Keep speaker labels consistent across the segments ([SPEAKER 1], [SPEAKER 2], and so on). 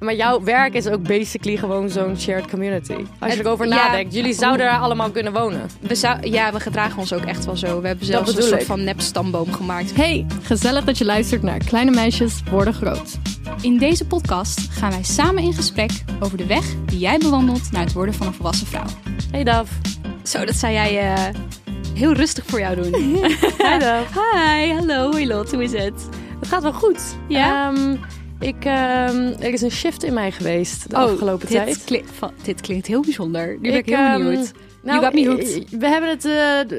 [SPEAKER 1] Maar jouw werk is ook basically gewoon zo'n shared community. Als je
[SPEAKER 2] Het-
[SPEAKER 1] erover
[SPEAKER 2] ja.
[SPEAKER 1] nadenkt, jullie zouden daar allemaal kunnen wonen.
[SPEAKER 2] We zou, ja, we gedragen ons ook echt wel zo. We hebben zelfs een
[SPEAKER 1] bedoel
[SPEAKER 2] soort
[SPEAKER 1] ik.
[SPEAKER 2] van nep-stamboom gemaakt.
[SPEAKER 3] Hey, gezellig dat je luistert naar Kleine Meisjes Worden Groot.
[SPEAKER 4] In deze podcast gaan wij samen in gesprek over de weg die jij bewandelt naar het worden van een volwassen vrouw.
[SPEAKER 1] Hey Daf.
[SPEAKER 2] Zo, dat zou jij eh, heel rustig voor jou doen.
[SPEAKER 1] Hey Daf.
[SPEAKER 2] Hi, hallo, hoi Lot, hoe is het?
[SPEAKER 1] Het gaat wel goed.
[SPEAKER 2] Ja?
[SPEAKER 1] Ehm, ik, ehm, er is een shift in mij geweest
[SPEAKER 3] Oh,
[SPEAKER 1] de afgelopen
[SPEAKER 2] Oh, dit
[SPEAKER 1] tijd.
[SPEAKER 2] klink- va- dit klinkt heel bijzonder. Nu ben ik, heel
[SPEAKER 1] ehm,
[SPEAKER 2] benieuwd.
[SPEAKER 1] Nou,
[SPEAKER 2] got me hooked.
[SPEAKER 1] eh, We hebben, het, eh,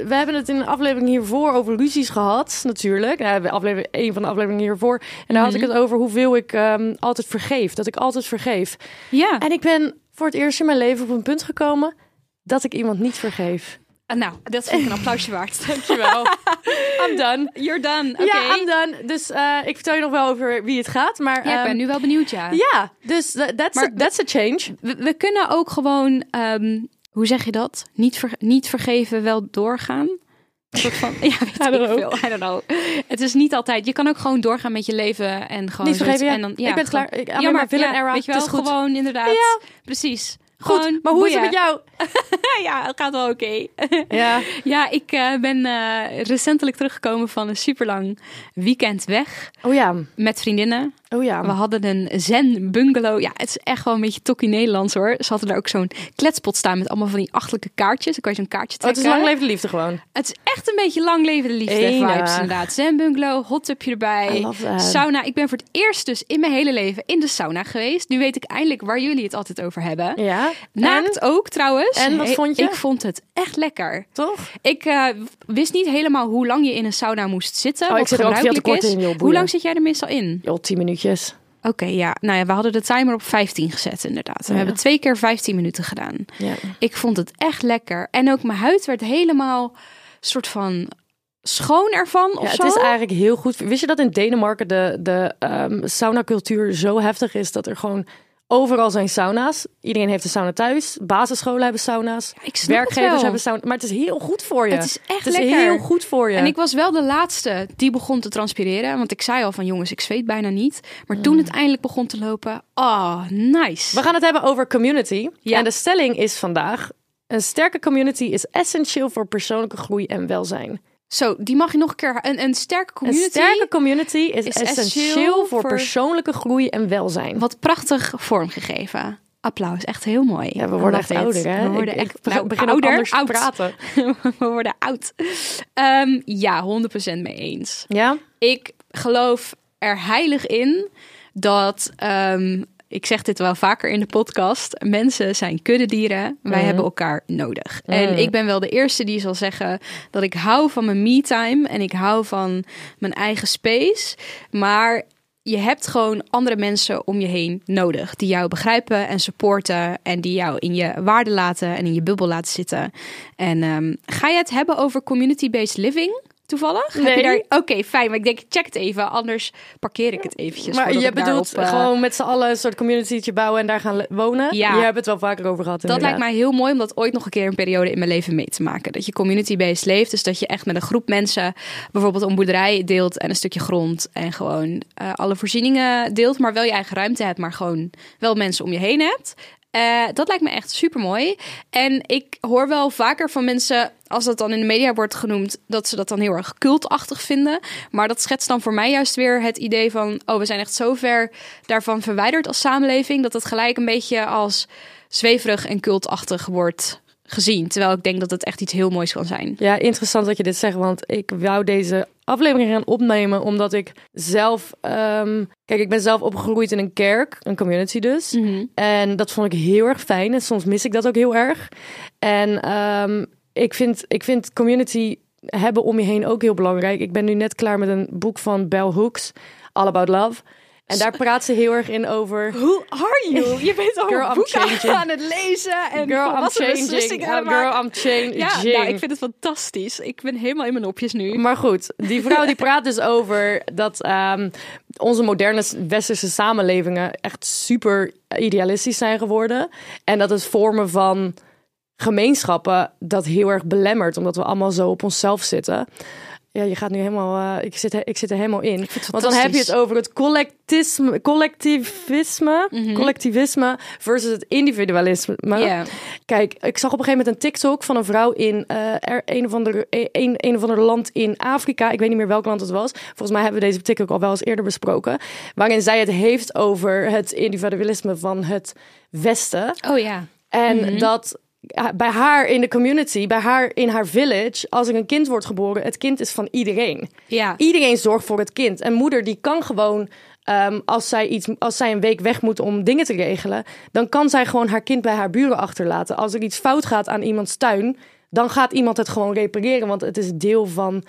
[SPEAKER 1] we hebben het in de aflevering hiervoor over ruzies gehad, natuurlijk. Nou, we aflevering, een van de afleveringen hiervoor. En daar had
[SPEAKER 3] Mhm.
[SPEAKER 1] ik het over hoeveel ik ehm, altijd vergeef. Dat ik altijd vergeef.
[SPEAKER 2] Ja.
[SPEAKER 1] En ik ben voor het eerst in mijn leven op een punt gekomen dat ik iemand niet vergeef.
[SPEAKER 2] nou, dat vind ik een applausje waard.
[SPEAKER 1] Dankjewel. I'm done.
[SPEAKER 2] You're done. Oké.
[SPEAKER 1] Ja, I'm done. Dus eh, ik vertel je nog wel over wie het gaat. Maar,
[SPEAKER 2] Ja, ik ben
[SPEAKER 1] ehm,
[SPEAKER 2] nu wel benieuwd, ja.
[SPEAKER 1] ja, dus tha- that's, a,
[SPEAKER 2] Maar-
[SPEAKER 1] that's a change.
[SPEAKER 2] We, we kunnen ook gewoon, ehm, hoe zeg je dat? Niet, ver- niet vergeven, wel doorgaan. Een soort van, ja, weet
[SPEAKER 1] don't
[SPEAKER 2] ik
[SPEAKER 1] know.
[SPEAKER 2] veel. I don't know. Het is niet altijd. Je kan ook gewoon doorgaan met je leven en gewoon.
[SPEAKER 1] Niet vergeven,
[SPEAKER 2] zoiets-
[SPEAKER 1] ja.
[SPEAKER 2] En dan,
[SPEAKER 1] ik ben
[SPEAKER 2] gewoon-
[SPEAKER 1] klaar. Ik, I'm in
[SPEAKER 2] Ja, maar
[SPEAKER 1] mijn villain
[SPEAKER 2] ja,
[SPEAKER 1] era.
[SPEAKER 2] Weet je
[SPEAKER 1] Het
[SPEAKER 2] wel,
[SPEAKER 1] is goed.
[SPEAKER 2] gewoon inderdaad.
[SPEAKER 1] Ja.
[SPEAKER 2] Precies.
[SPEAKER 1] Goed,
[SPEAKER 2] Gewoon,
[SPEAKER 1] maar hoe is het met
[SPEAKER 2] boeien.
[SPEAKER 1] jou?
[SPEAKER 2] ja, het gaat wel oké.
[SPEAKER 1] Ja.
[SPEAKER 2] ja, ik eh, ben eh, recentelijk teruggekomen van een superlang weekend weg
[SPEAKER 1] Oh ja.
[SPEAKER 2] met vriendinnen.
[SPEAKER 1] Oh ja.
[SPEAKER 2] We hadden een zen bungalow. Ja, het is echt wel een beetje tokkie Nederlands hoor. Ze hadden daar ook zo'n kletspot staan met allemaal van die achterlijke kaartjes. Dan kan je zo'n kaartje
[SPEAKER 1] Oh, het
[SPEAKER 2] trekken.
[SPEAKER 1] is lang leven de liefde gewoon.
[SPEAKER 2] Het is echt een beetje lang leven de liefde
[SPEAKER 1] Enig.
[SPEAKER 2] vibes inderdaad. Zen bungalow, hot tubje
[SPEAKER 1] I
[SPEAKER 2] erbij.
[SPEAKER 1] love that.
[SPEAKER 2] Sauna. Ik ben voor het eerst dus in mijn hele leven in de sauna geweest. Nu weet ik eindelijk waar jullie het altijd over hebben.
[SPEAKER 1] Ja.
[SPEAKER 2] Naakt
[SPEAKER 1] En?
[SPEAKER 2] ook trouwens.
[SPEAKER 1] En, wat
[SPEAKER 2] Hey,
[SPEAKER 1] vond je?
[SPEAKER 2] Ik vond het echt lekker.
[SPEAKER 1] Toch?
[SPEAKER 2] Ik eh, wist niet helemaal hoe lang je in een sauna moest zitten.
[SPEAKER 1] Oh, ik
[SPEAKER 2] wat
[SPEAKER 1] zit er ook veel te
[SPEAKER 2] gebruikelijk
[SPEAKER 1] kort
[SPEAKER 2] is.
[SPEAKER 1] in, joh,
[SPEAKER 2] hoe
[SPEAKER 1] boeien.
[SPEAKER 2] lang zit jij er meestal in?
[SPEAKER 1] Joh, tien minuutjes.
[SPEAKER 2] Oké, ja. Nou ja, we hadden de timer op 15 gezet inderdaad. We
[SPEAKER 1] Ja.
[SPEAKER 2] hebben twee keer 15 minuten gedaan.
[SPEAKER 1] Ja.
[SPEAKER 2] Ik vond het echt lekker. En ook mijn huid werd helemaal soort van schoon ervan of
[SPEAKER 1] Ja,
[SPEAKER 2] zo.
[SPEAKER 1] het is eigenlijk heel goed. Wist je dat in Denemarken de, de ehm sauna-cultuur zo heftig is dat er gewoon overal zijn sauna's. Iedereen heeft een sauna thuis. Basisscholen hebben sauna's.
[SPEAKER 2] ik snap het
[SPEAKER 1] werkgevers
[SPEAKER 2] wel.
[SPEAKER 1] hebben sauna's. Maar het is heel goed voor je.
[SPEAKER 2] Het is echt
[SPEAKER 1] het is
[SPEAKER 2] lekker.
[SPEAKER 1] heel goed voor je.
[SPEAKER 2] En ik was wel de laatste die begon te transpireren. Want ik zei al van jongens, ik zweet bijna niet. Maar
[SPEAKER 1] Mm.
[SPEAKER 2] toen het eindelijk begon te lopen, oh, nice.
[SPEAKER 1] We gaan het hebben over community.
[SPEAKER 2] Ja.
[SPEAKER 1] En de stelling is vandaag... Een sterke community is essentieel voor persoonlijke groei en welzijn.
[SPEAKER 2] Zo, die mag je nog een keer. Een, een sterke community.
[SPEAKER 1] Een sterke community is,
[SPEAKER 2] is
[SPEAKER 1] essentieel
[SPEAKER 2] essentieel
[SPEAKER 1] voor
[SPEAKER 2] voor-
[SPEAKER 1] persoonlijke groei en welzijn.
[SPEAKER 2] Wat prachtig vormgegeven. Applaus, echt heel mooi.
[SPEAKER 1] Ja, we worden
[SPEAKER 2] I
[SPEAKER 1] echt
[SPEAKER 2] love it.
[SPEAKER 1] ouder, hè?
[SPEAKER 2] We worden
[SPEAKER 1] Ik- ik
[SPEAKER 2] echt
[SPEAKER 1] beg-
[SPEAKER 2] nou,
[SPEAKER 1] begin ook
[SPEAKER 2] ouder,
[SPEAKER 1] anders te
[SPEAKER 2] oud.
[SPEAKER 1] praten.
[SPEAKER 2] we worden oud. Ehm, ja, 100% mee eens.
[SPEAKER 1] Ja?
[SPEAKER 2] Ik geloof er heilig in dat. ehm, ik zeg dit wel vaker in de podcast. Mensen zijn kuddedieren. Wij hebben elkaar nodig. En ik ben wel de eerste die zal zeggen dat ik hou van mijn me-time. En ik hou van mijn eigen space. Maar je hebt gewoon andere mensen om je heen nodig. Die jou begrijpen en supporten. En die jou in je waarde laten en in je bubbel laten zitten. En ehm, ga je het hebben over community-based living? Toevallig? Heb
[SPEAKER 1] Nee.
[SPEAKER 2] je daar Oké, fijn. Maar ik denk, check het even. Anders parkeer ik het eventjes.
[SPEAKER 1] Maar
[SPEAKER 2] voordat
[SPEAKER 1] je
[SPEAKER 2] ik daarop,
[SPEAKER 1] bedoelt
[SPEAKER 2] eh,
[SPEAKER 1] gewoon met z'n allen een soort communitytje bouwen en daar gaan le- wonen?
[SPEAKER 2] Ja.
[SPEAKER 1] Je hebt het wel vaker over gehad,
[SPEAKER 2] Dat lijkt
[SPEAKER 1] inderdaad.
[SPEAKER 2] mij heel mooi om dat ooit nog een keer een periode in mijn leven mee te maken. Dat je community-based leeft. Dus dat je echt met een groep mensen bijvoorbeeld een boerderij deelt en een stukje grond. En gewoon eh, alle voorzieningen deelt. Maar wel je eigen ruimte hebt, maar gewoon wel mensen om je heen hebt. Eh, dat lijkt me echt super mooi. En ik hoor wel vaker van mensen, als dat dan in de media wordt genoemd, dat ze dat dan heel erg cultachtig vinden. Maar dat schetst dan voor mij juist weer het idee van: oh, we zijn echt zo ver daarvan verwijderd als samenleving. Dat het gelijk een beetje als zweverig en cultachtig wordt gezien. Terwijl ik denk dat het echt iets heel moois kan zijn.
[SPEAKER 1] Ja, interessant dat je dit zegt, want ik wou deze aflevering gaan opnemen omdat ik zelf... ehm, kijk, ik ben zelf opgegroeid in een kerk, een community dus.
[SPEAKER 2] Mhm.
[SPEAKER 1] En dat vond ik heel erg fijn en soms mis ik dat ook heel erg. En ehm, ik, vind, ik vind community hebben om je heen ook heel belangrijk. Ik ben nu net klaar met een boek van Bell Hooks, All About Love. En daar praat ze heel erg in over...
[SPEAKER 2] Who are you? Je bent al
[SPEAKER 1] Girl, I'm
[SPEAKER 2] boeken
[SPEAKER 1] changing.
[SPEAKER 2] aan het lezen en
[SPEAKER 1] Girl, I'm
[SPEAKER 2] volwassen
[SPEAKER 1] changing.
[SPEAKER 2] beslissingen aan het maken.
[SPEAKER 1] Girl, I'm changing.
[SPEAKER 2] Ja, nou, ik vind het fantastisch. Ik ben helemaal in mijn nopjes nu.
[SPEAKER 1] Maar goed, die vrouw die praat dus over dat ehm, onze moderne westerse samenlevingen echt super idealistisch zijn geworden. En dat het vormen van gemeenschappen dat heel erg belemmert, omdat we allemaal zo op onszelf zitten. Ja, je gaat nu helemaal. eh, ik, zit, ik zit er helemaal in. Want dan heb je het over het collectisme, collectivisme, collectivisme versus het individualisme.
[SPEAKER 2] Ja.
[SPEAKER 1] Kijk, ik zag op een gegeven moment een TikTok van een vrouw in eh, er, een, of ander, e- een, een of ander land in Afrika. Ik weet niet meer welk land het was. Volgens mij hebben we deze TikTok al wel eens eerder besproken. Waarin zij het heeft over het individualisme van het Westen.
[SPEAKER 2] Oh ja.
[SPEAKER 1] En dat ja, bij haar in de community, bij haar in haar village, als er een kind wordt geboren, het kind is van iedereen.
[SPEAKER 2] Ja.
[SPEAKER 1] Iedereen zorgt voor het kind. En moeder die kan gewoon, ehm, als, zij iets, als zij een week weg moet om dingen te regelen, dan kan zij gewoon haar kind bij haar buren achterlaten. Als er iets fout gaat aan iemands tuin, dan gaat iemand het gewoon repareren, want het is deel van,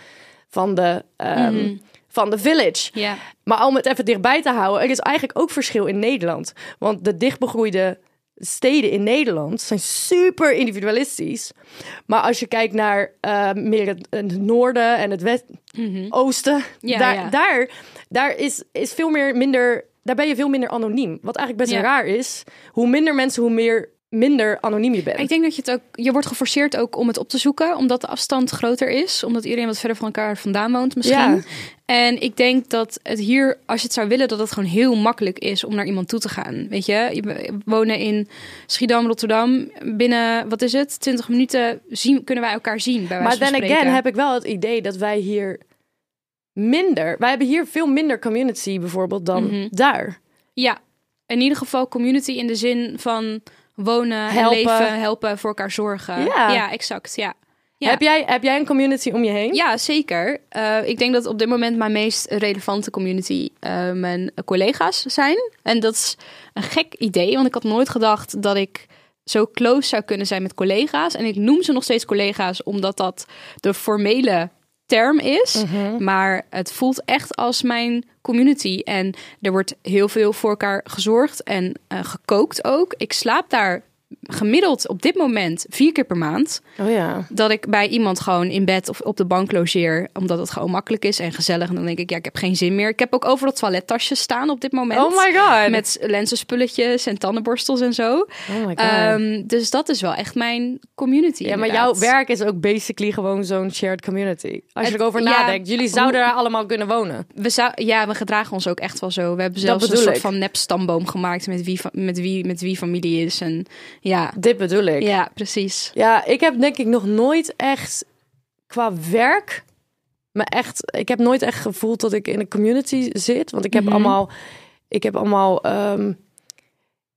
[SPEAKER 1] van, de, ehm, van de village.
[SPEAKER 2] Mhm. Ja.
[SPEAKER 1] Maar om het even dichtbij te houden, er is eigenlijk ook verschil in Nederland. Want de dichtbegroeide steden in Nederland zijn super individualistisch. Maar als je kijkt naar eh, meer het, het noorden en het west, oosten,
[SPEAKER 2] Mhm. Ja,
[SPEAKER 1] daar,
[SPEAKER 2] ja.
[SPEAKER 1] daar, daar is, is veel meer minder, daar ben je veel minder anoniem. Wat eigenlijk best
[SPEAKER 2] Ja.
[SPEAKER 1] raar is, hoe minder mensen, hoe meer minder anoniem je bent.
[SPEAKER 2] Ik denk dat je het ook, je wordt geforceerd ook om het op te zoeken, omdat de afstand groter is, omdat iedereen wat verder van elkaar vandaan woont misschien.
[SPEAKER 1] Ja.
[SPEAKER 2] En ik denk dat het hier, als je het zou willen, dat het gewoon heel makkelijk is om naar iemand toe te gaan. Weet je, je we wonen in Schiedam, Rotterdam, binnen wat is het, 20 minuten zien, kunnen wij elkaar zien. Bij wijze
[SPEAKER 1] Maar
[SPEAKER 2] van
[SPEAKER 1] dan again
[SPEAKER 2] spreken.
[SPEAKER 1] heb ik wel het idee dat wij hier minder, wij hebben hier veel minder community bijvoorbeeld dan
[SPEAKER 2] Mhm.
[SPEAKER 1] daar.
[SPEAKER 2] Ja, in ieder geval community in de zin van wonen, en
[SPEAKER 1] Helpen.
[SPEAKER 2] leven, helpen, voor elkaar zorgen.
[SPEAKER 1] Ja.
[SPEAKER 2] exact. Ja. Ja.
[SPEAKER 1] Heb, jij, heb jij een community om je heen?
[SPEAKER 2] Ja, zeker. Eh, ik denk dat op dit moment mijn meest relevante community eh, mijn collega's zijn. En dat is een gek idee, want ik had nooit gedacht dat ik zo close zou kunnen zijn met collega's. En ik noem ze nog steeds collega's, omdat dat de formele term is. Maar het voelt echt als mijn community. En er wordt heel veel voor elkaar gezorgd en eh, gekookt ook. Ik slaap daar gemiddeld op dit moment vier keer per maand
[SPEAKER 1] Oh ja.
[SPEAKER 2] dat ik bij iemand gewoon in bed of op de bank logeer. Omdat het gewoon makkelijk is en gezellig. En dan denk ik, ja, ik heb geen zin meer. Ik heb ook overal toilettasjes staan op dit moment.
[SPEAKER 1] Oh my god.
[SPEAKER 2] Met lenzenspulletjes en tandenborstels en zo.
[SPEAKER 1] oh my god.
[SPEAKER 2] Ehm, dus dat is wel echt mijn community.
[SPEAKER 1] ja, maar jouw
[SPEAKER 2] inderdaad.
[SPEAKER 1] werk is ook basically gewoon zo'n shared community. Als je
[SPEAKER 2] Het-
[SPEAKER 1] erover
[SPEAKER 2] ja,
[SPEAKER 1] nadenkt, jullie zouden
[SPEAKER 2] hoe-
[SPEAKER 1] daar allemaal kunnen wonen.
[SPEAKER 2] We zou, ja, we gedragen ons ook echt wel zo. We hebben zelfs een
[SPEAKER 1] bedoel
[SPEAKER 2] soort
[SPEAKER 1] ik.
[SPEAKER 2] van nep-stamboom gemaakt met wie, fa- met, wie, met wie familie is. En ja,
[SPEAKER 1] Dit bedoel ik.
[SPEAKER 2] ja precies.
[SPEAKER 1] Ja, ik heb denk ik nog nooit echt qua werk. Maar echt, ik heb nooit echt gevoeld dat ik in een community zit. Want ik
[SPEAKER 2] Mhm.
[SPEAKER 1] heb allemaal. Ik heb allemaal. ehm,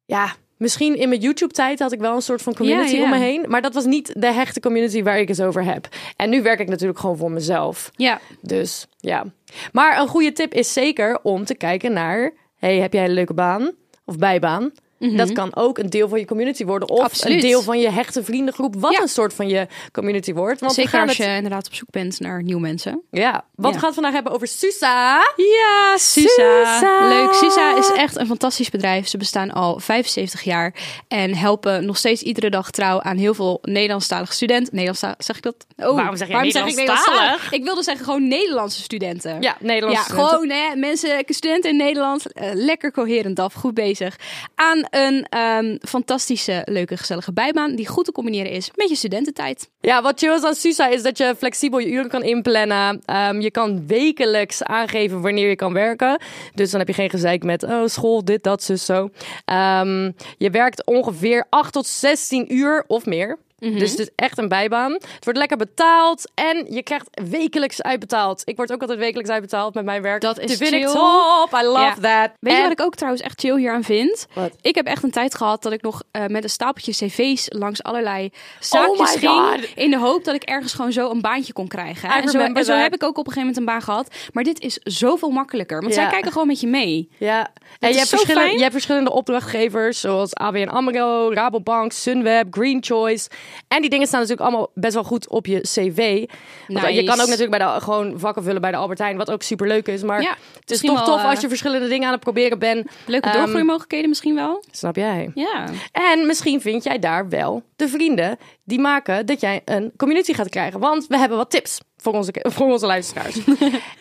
[SPEAKER 1] ja, misschien in mijn YouTube-tijd had ik wel een soort van community
[SPEAKER 2] Ja, ja.
[SPEAKER 1] om me heen. Maar dat was niet de hechte community waar ik het over heb. En nu werk ik natuurlijk gewoon voor mezelf.
[SPEAKER 2] Ja,
[SPEAKER 1] Dus ja. Maar een goede tip is zeker om te kijken naar: hey, heb jij een leuke baan of bijbaan? Dat kan ook een deel van je community worden. Of
[SPEAKER 2] Mhm. Absoluut.
[SPEAKER 1] een deel van je hechte vriendengroep. Wat
[SPEAKER 2] Ja.
[SPEAKER 1] een soort van je community wordt. Want we
[SPEAKER 2] zeker
[SPEAKER 1] gaan
[SPEAKER 2] als je
[SPEAKER 1] het,
[SPEAKER 2] inderdaad op zoek bent naar nieuwe mensen.
[SPEAKER 1] ja, want
[SPEAKER 2] Ja.
[SPEAKER 1] we gaan het vandaag hebben over Susa.
[SPEAKER 2] Ja, Susa.
[SPEAKER 1] Susa.
[SPEAKER 2] Leuk. Susa is echt een fantastisch bedrijf. Ze bestaan al 75 jaar en helpen nog steeds iedere dag trouw aan heel veel Nederlandstalige studenten. Nederlandstalig, zeg ik dat? Oh,
[SPEAKER 1] Waarom zeg je
[SPEAKER 2] ik
[SPEAKER 1] Nederlandstalig?
[SPEAKER 2] Ik wilde zeggen gewoon Nederlandse studenten.
[SPEAKER 1] Ja, Nederlandse
[SPEAKER 2] Ja,
[SPEAKER 1] studenten.
[SPEAKER 2] gewoon hè, mensen, studenten in Nederland. eh, lekker coherent af, goed bezig. Aan een ehm, fantastische, leuke, gezellige bijbaan die goed te combineren is met je studententijd.
[SPEAKER 1] Ja, wat chill is aan Susa is dat je flexibel je uren kan inplannen. Ehm, je kan wekelijks aangeven wanneer je kan werken. Dus dan heb je geen gezeik met oh, school, dit, dat, zus, zo. Ehm, je werkt ongeveer 8 tot 16 uur of meer.
[SPEAKER 2] Mhm.
[SPEAKER 1] Dus het is echt een bijbaan. Het wordt lekker betaald en je krijgt wekelijks uitbetaald. Ik word ook altijd wekelijks uitbetaald met mijn werk.
[SPEAKER 2] Dat is
[SPEAKER 1] Die vind ik
[SPEAKER 2] chill.
[SPEAKER 1] top. I love
[SPEAKER 2] Ja.
[SPEAKER 1] that.
[SPEAKER 2] Weet je
[SPEAKER 1] En-
[SPEAKER 2] wat ik ook trouwens echt chill hier aan vind?
[SPEAKER 1] Wat?
[SPEAKER 2] Ik heb echt een tijd gehad dat ik nog eh, met een stapeltje cv's langs allerlei zaakjes
[SPEAKER 1] Oh my
[SPEAKER 2] ging.
[SPEAKER 1] God.
[SPEAKER 2] In de hoop dat ik ergens gewoon zo een baantje kon krijgen.
[SPEAKER 1] I
[SPEAKER 2] En zo,
[SPEAKER 1] remember
[SPEAKER 2] en zo
[SPEAKER 1] that.
[SPEAKER 2] heb ik ook op een gegeven moment een baan gehad. Maar dit is zoveel makkelijker. Want zij
[SPEAKER 1] Ja.
[SPEAKER 2] kijken gewoon met je mee.
[SPEAKER 1] Ja, en
[SPEAKER 2] is
[SPEAKER 1] je hebt,
[SPEAKER 2] zo
[SPEAKER 1] verschillen-
[SPEAKER 2] fijn.
[SPEAKER 1] je hebt verschillende opdrachtgevers, zoals ABN AMRO, Rabobank, Sunweb, Green Choice. En die dingen staan natuurlijk allemaal best wel goed op je cv. Want
[SPEAKER 2] Nice.
[SPEAKER 1] je kan ook natuurlijk bij de, gewoon vakken vullen bij de Albert Heijn, wat ook super leuk is. Maar
[SPEAKER 2] Ja,
[SPEAKER 1] het is
[SPEAKER 2] misschien
[SPEAKER 1] toch
[SPEAKER 2] wel,
[SPEAKER 1] tof
[SPEAKER 2] eh,
[SPEAKER 1] als je verschillende dingen aan het proberen bent.
[SPEAKER 2] Leuke
[SPEAKER 1] Ehm,
[SPEAKER 2] doorgroeimogelijkheden misschien wel.
[SPEAKER 1] Snap jij?
[SPEAKER 2] Ja.
[SPEAKER 1] En misschien vind jij daar wel de vrienden die maken dat jij een community gaat krijgen. Want we hebben wat tips voor onze, voor onze luisteraars.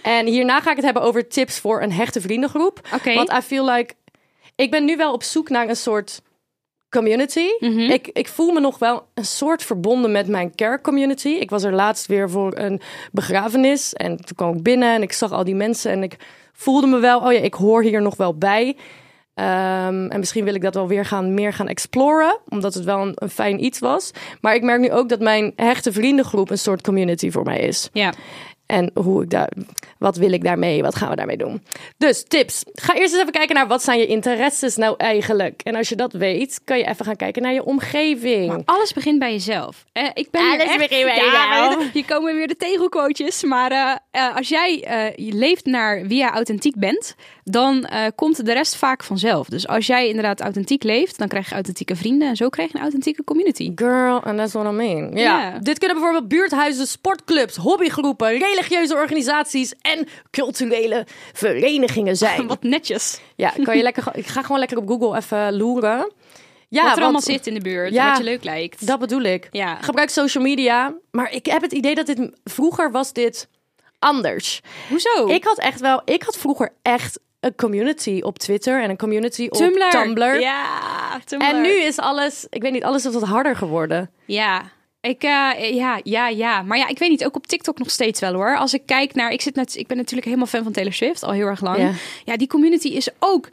[SPEAKER 1] en hierna ga ik het hebben over tips voor een hechte vriendengroep.
[SPEAKER 2] Oké.
[SPEAKER 1] Want I feel like... Ik ben nu wel op zoek naar een soort community. ik, ik voel me nog wel een soort verbonden met mijn kerkcommunity. Ik was er laatst weer voor een begrafenis. En toen kwam ik binnen en ik zag al die mensen. En ik voelde me wel, oh ja, ik hoor hier nog wel bij. Ehm, en misschien wil ik dat wel weer gaan, meer gaan exploren. Omdat het wel een, een fijn iets was. Maar ik merk nu ook dat mijn hechte vriendengroep een soort community voor mij is.
[SPEAKER 2] Ja.
[SPEAKER 1] En hoe ik daar, wat wil ik daarmee? Wat gaan we daarmee doen? Dus tips. Ga eerst eens even kijken naar wat zijn je interesses nou eigenlijk. En als je dat weet, kan je even gaan kijken naar je omgeving.
[SPEAKER 2] Alles begint bij jezelf. Eh, ik ben hier
[SPEAKER 1] Alles
[SPEAKER 2] echt-
[SPEAKER 1] begint bij
[SPEAKER 2] Ja,
[SPEAKER 1] jezelf.
[SPEAKER 2] maar Hier komen weer de tegelquotejes. Maar eh, eh, als jij eh, je leeft naar wie jij authentiek bent, dan eh, komt de rest vaak vanzelf. Dus als jij inderdaad authentiek leeft, dan krijg je authentieke vrienden. En zo krijg je een authentieke community.
[SPEAKER 1] Girl, and that's what I mean. Ja.
[SPEAKER 2] Ja.
[SPEAKER 1] Dit kunnen bijvoorbeeld buurthuizen, sportclubs, hobbygroepen, religieuze organisaties en culturele verenigingen zijn.
[SPEAKER 2] Wat netjes.
[SPEAKER 1] Ja, kan je lekker, ik ga gewoon lekker op Google even loeren. Ja,
[SPEAKER 2] wat er
[SPEAKER 1] want-
[SPEAKER 2] allemaal zit in de buurt,
[SPEAKER 1] Ja.
[SPEAKER 2] wat je leuk lijkt.
[SPEAKER 1] Dat bedoel ik.
[SPEAKER 2] Ja.
[SPEAKER 1] Gebruik social media. Maar ik heb het idee dat dit... Vroeger was dit anders.
[SPEAKER 2] Hoezo?
[SPEAKER 1] Ik had echt wel... Ik had vroeger echt een community op Twitter en een community op
[SPEAKER 2] Tumblr.
[SPEAKER 1] Tumblr.
[SPEAKER 2] Ja, Tumblr.
[SPEAKER 1] En nu is alles... Ik weet niet, alles is wat harder geworden.
[SPEAKER 2] Ja. Ik, eh, ja, ja, ja. Maar ja, ik weet niet. Ook op TikTok nog steeds wel hoor. Als ik kijk naar. Ik, zit net, ik ben natuurlijk helemaal fan van Taylor Swift al heel erg lang. Ja,
[SPEAKER 1] Ja.
[SPEAKER 2] die community is ook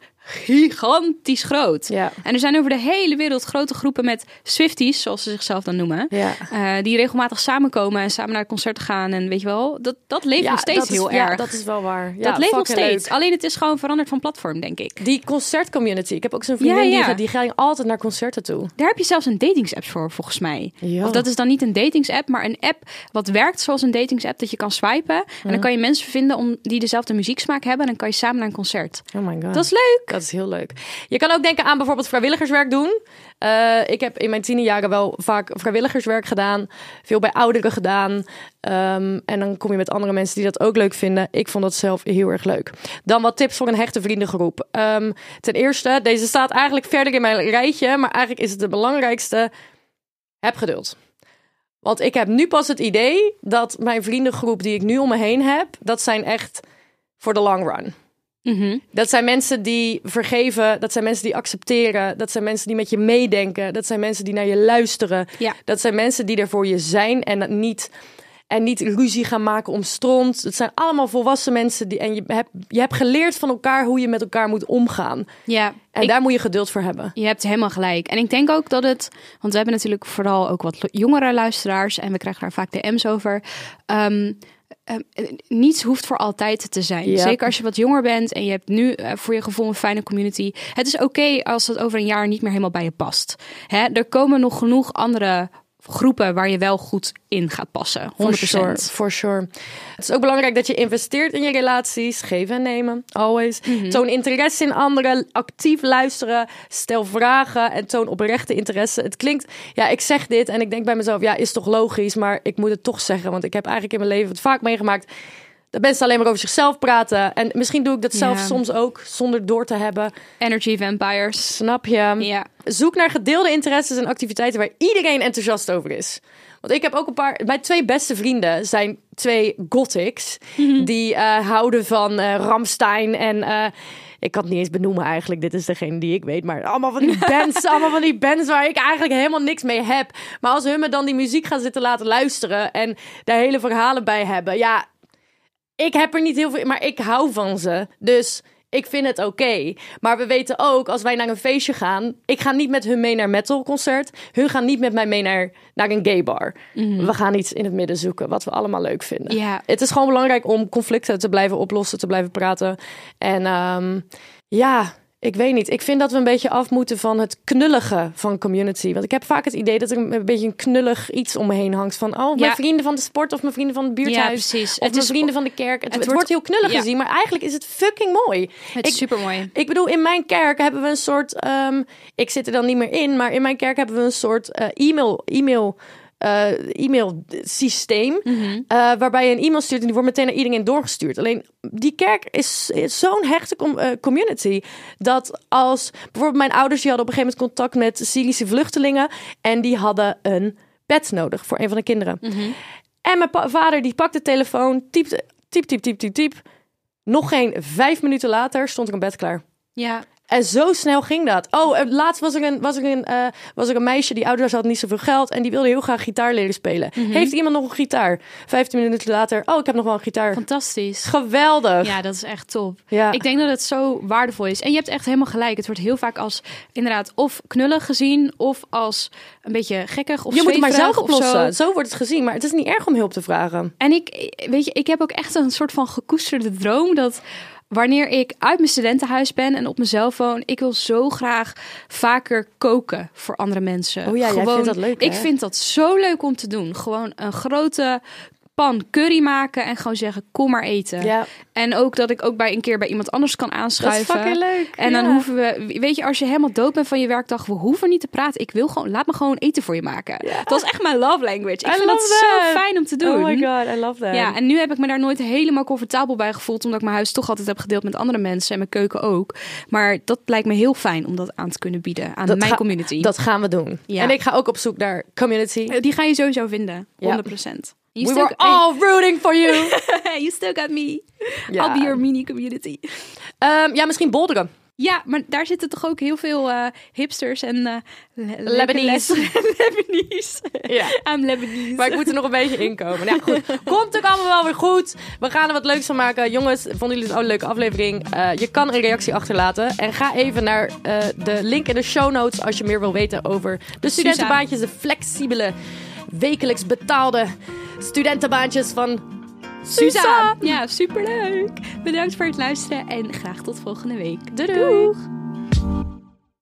[SPEAKER 2] gigantisch groot.
[SPEAKER 1] Ja.
[SPEAKER 2] En er zijn over de hele wereld grote groepen met Swifties, zoals ze zichzelf dan noemen.
[SPEAKER 1] Ja.
[SPEAKER 2] eh, die regelmatig samenkomen en samen naar concerten gaan. En weet je wel, dat, dat leeft nog steeds
[SPEAKER 1] dat is-
[SPEAKER 2] heel
[SPEAKER 1] ja,
[SPEAKER 2] erg.
[SPEAKER 1] dat is wel waar. Ja,
[SPEAKER 2] Dat leeft nog
[SPEAKER 1] fucking
[SPEAKER 2] steeds.
[SPEAKER 1] leuk.
[SPEAKER 2] Alleen het is gewoon veranderd van platform, denk ik.
[SPEAKER 1] Die concertcommunity. Ik heb ook zo'n vriendin
[SPEAKER 2] Ja, ja.
[SPEAKER 1] die gaat- die ging altijd naar concerten toe.
[SPEAKER 2] Daar heb je zelfs een datingsapp voor, volgens mij.
[SPEAKER 1] Ja.
[SPEAKER 2] Of dat is dan niet een datingsapp, maar een app wat werkt zoals een datingsapp. Dat je kan swipen. En dan kan je mensen vinden om, die dezelfde muzieksmaak hebben. En dan kan je samen naar een concert.
[SPEAKER 1] Oh my god.
[SPEAKER 2] Dat is leuk.
[SPEAKER 1] Dat is heel leuk. Je kan ook denken aan bijvoorbeeld vrijwilligerswerk doen. Eh, ik heb in mijn tienerjaren wel vaak vrijwilligerswerk gedaan. Veel bij ouderen gedaan. Ehm, en dan kom je met andere mensen die dat ook leuk vinden. Ik vond dat zelf heel erg leuk. Dan wat tips voor een hechte vriendengroep. Ehm, ten eerste, deze staat eigenlijk verder in mijn rijtje. Maar eigenlijk is het de belangrijkste. Heb geduld. Want ik heb nu pas het idee dat mijn vriendengroep die ik nu om me heen heb... dat zijn echt voor de long run. Dat zijn mensen die vergeven, dat zijn mensen die accepteren, dat zijn mensen die met je meedenken, dat zijn mensen die naar je luisteren,
[SPEAKER 2] Ja.
[SPEAKER 1] dat zijn mensen die er voor je zijn en dat niet, en niet ruzie gaan maken om stront. Het zijn allemaal volwassen mensen die, en je hebt, je hebt geleerd van elkaar hoe je met elkaar moet omgaan.
[SPEAKER 2] Ja,
[SPEAKER 1] En daar moet je geduld voor hebben.
[SPEAKER 2] je hebt helemaal gelijk. En ik denk ook dat het... Want we hebben natuurlijk vooral ook wat lo- jongere luisteraars. En we krijgen daar vaak DM's over. Ehm, ehm, eh, niets hoeft voor altijd te zijn.
[SPEAKER 1] Ja.
[SPEAKER 2] Zeker als je wat jonger bent en je hebt nu eh, voor je gevoel een fijne community. Het is oké als dat over een jaar niet meer helemaal bij je past. Hè? Er komen nog genoeg andere groepen waar je wel goed in gaat passen. 100%.
[SPEAKER 1] For sure, for sure. Het is ook belangrijk dat je investeert in je relaties. Geven en nemen, always.
[SPEAKER 2] Mhm.
[SPEAKER 1] Toon interesse in anderen, actief luisteren, stel vragen en toon oprechte interesse. Het klinkt, ja, ik zeg dit en ik denk bij mezelf, ja, is toch logisch, maar ik moet het toch zeggen, want ik heb eigenlijk in mijn leven het vaak meegemaakt dat mensen alleen maar over zichzelf praten. En misschien doe ik dat zelf
[SPEAKER 2] Ja.
[SPEAKER 1] soms ook, zonder door te hebben.
[SPEAKER 2] Energy vampires.
[SPEAKER 1] Snap je?
[SPEAKER 2] Ja.
[SPEAKER 1] Zoek naar gedeelde interesses en activiteiten waar iedereen enthousiast over is. Want ik heb ook een paar. Mijn twee beste vrienden zijn twee gothics. Die eh, houden van eh, Ramstein en. eh, ik kan het niet eens benoemen eigenlijk. Dit is degene die ik weet. Maar allemaal van die bands. allemaal van die bands waar ik eigenlijk helemaal niks mee heb. Maar als hun me dan die muziek gaan zitten laten luisteren. En daar hele verhalen bij hebben. Ja, ik heb er niet heel veel, maar ik hou van ze. Dus ik vind het oké. Maar we weten ook, als wij naar een feestje gaan, ik ga niet met hun mee naar metalconcert. Hun gaan niet met mij mee naar, naar een gay bar. We gaan iets in het midden zoeken wat we allemaal leuk vinden.
[SPEAKER 2] Mhm. Ja.
[SPEAKER 1] Het is gewoon belangrijk om conflicten te blijven oplossen, te blijven praten. En ehm, ja, Ik weet niet. Ik vind dat we een beetje af moeten van het knullige van community. Want ik heb vaak het idee dat er een een beetje een knullig iets om me heen hangt. Van, oh, mijn
[SPEAKER 2] Ja.
[SPEAKER 1] vrienden van de sport of mijn vrienden van het buurthuis.
[SPEAKER 2] Ja, precies.
[SPEAKER 1] Of
[SPEAKER 2] Het
[SPEAKER 1] mijn
[SPEAKER 2] is-
[SPEAKER 1] vrienden van de kerk. Het,
[SPEAKER 2] het
[SPEAKER 1] het wordt
[SPEAKER 2] wordt-
[SPEAKER 1] heel knullig dus
[SPEAKER 2] ja.
[SPEAKER 1] gezien, maar eigenlijk is het fucking mooi.
[SPEAKER 2] Het
[SPEAKER 1] Ik-
[SPEAKER 2] is supermooi.
[SPEAKER 1] ik bedoel, in mijn kerk hebben we een soort. ehm, ik zit er dan niet meer in, maar in mijn kerk hebben we een soort eh, e-mail. e-mail eh, e-mail systeem
[SPEAKER 2] Mhm.
[SPEAKER 1] eh, waarbij je een e-mail stuurt en die wordt meteen naar iedereen doorgestuurd. Alleen die kerk is, is zo'n hechte com- eh, community dat als bijvoorbeeld mijn ouders die hadden op een gegeven moment contact met Syrische vluchtelingen en die hadden een bed nodig voor een van de kinderen.
[SPEAKER 2] Mhm.
[SPEAKER 1] En mijn pa- vader die pakte de telefoon, typte, typ, typ, typ, typ, typ. Nog geen vijf minuten later stond ik een bed klaar.
[SPEAKER 2] Ja.
[SPEAKER 1] En zo snel ging dat. Oh, eh, laatst was er een, was er een, eh, was er een meisje die ouders had niet zoveel geld en die wilde heel graag gitaar leren spelen.
[SPEAKER 2] Mhm.
[SPEAKER 1] Heeft iemand nog een gitaar? Vijftien minuten later, oh, ik heb nog wel een gitaar.
[SPEAKER 2] Fantastisch.
[SPEAKER 1] Geweldig.
[SPEAKER 2] Ja, dat is echt top.
[SPEAKER 1] Ja.
[SPEAKER 2] Ik denk dat het zo waardevol is. En je hebt echt helemaal gelijk. Het wordt heel vaak als inderdaad of knullig gezien of als een beetje gekkig of
[SPEAKER 1] je moet het maar
[SPEAKER 2] zweverig
[SPEAKER 1] zelf
[SPEAKER 2] of zo.
[SPEAKER 1] oplossen. Zo. wordt het gezien, maar het is niet erg om hulp te vragen.
[SPEAKER 2] En ik, weet je, ik heb ook echt een soort van gekoesterde droom dat wanneer ik uit mijn studentenhuis ben en op mezelf woon, ik wil zo graag vaker koken voor andere mensen.
[SPEAKER 1] Oh ja, jij
[SPEAKER 2] Gewoon,
[SPEAKER 1] vindt dat leuk, hè?
[SPEAKER 2] Ik vind dat zo leuk om te doen. Gewoon een grote pan curry maken en gewoon zeggen kom maar eten.
[SPEAKER 1] Ja.
[SPEAKER 2] En ook dat ik ook bij een keer bij iemand anders kan aanschuiven.
[SPEAKER 1] fucking leuk,
[SPEAKER 2] En dan
[SPEAKER 1] ja.
[SPEAKER 2] hoeven we, weet je, als je helemaal dood bent van je werkdag, we hoeven niet te praten. Ik wil gewoon, laat me gewoon eten voor je maken. Dat is echt mijn love language. Ik
[SPEAKER 1] I
[SPEAKER 2] vind dat
[SPEAKER 1] love
[SPEAKER 2] zo
[SPEAKER 1] that.
[SPEAKER 2] fijn om te doen.
[SPEAKER 1] Oh my god, I love that.
[SPEAKER 2] Ja, en nu heb ik me daar nooit helemaal comfortabel bij gevoeld, omdat ik mijn huis toch altijd heb gedeeld met andere mensen en mijn keuken ook. Maar dat lijkt me heel fijn om dat aan te kunnen bieden aan mijn
[SPEAKER 1] ga-
[SPEAKER 2] community.
[SPEAKER 1] Dat gaan we doen.
[SPEAKER 2] Ja.
[SPEAKER 1] En ik ga ook op zoek naar community.
[SPEAKER 2] Die ga je sowieso vinden, 100%.
[SPEAKER 1] Ja.
[SPEAKER 2] You,
[SPEAKER 1] We
[SPEAKER 2] still,
[SPEAKER 1] were all rooting for you.
[SPEAKER 2] hey, you still got me.
[SPEAKER 1] Ja.
[SPEAKER 2] I'll be your mini community.
[SPEAKER 1] Ehm, ja, misschien bolderen.
[SPEAKER 2] Ja, maar daar zitten toch ook heel veel eh, hipsters en eh, le-
[SPEAKER 1] Lebanese.
[SPEAKER 2] le- Lebanese.
[SPEAKER 1] Ja.
[SPEAKER 2] I'm Lebanese.
[SPEAKER 1] Maar ik moet er nog een beetje inkomen. Nou goed, komt ook allemaal wel weer goed. We gaan er wat leuks van maken. Jongens, vonden jullie het ook een leuke aflevering? Eh, je kan een reactie achterlaten. En ga even naar eh, de link in de show notes als je meer wil weten over de studentenbaantjes. De flexibele, wekelijks betaalde studentenbaantjes van Suza.
[SPEAKER 2] Ja, superleuk. Bedankt voor het luisteren en graag tot volgende week.
[SPEAKER 1] Doei! doei.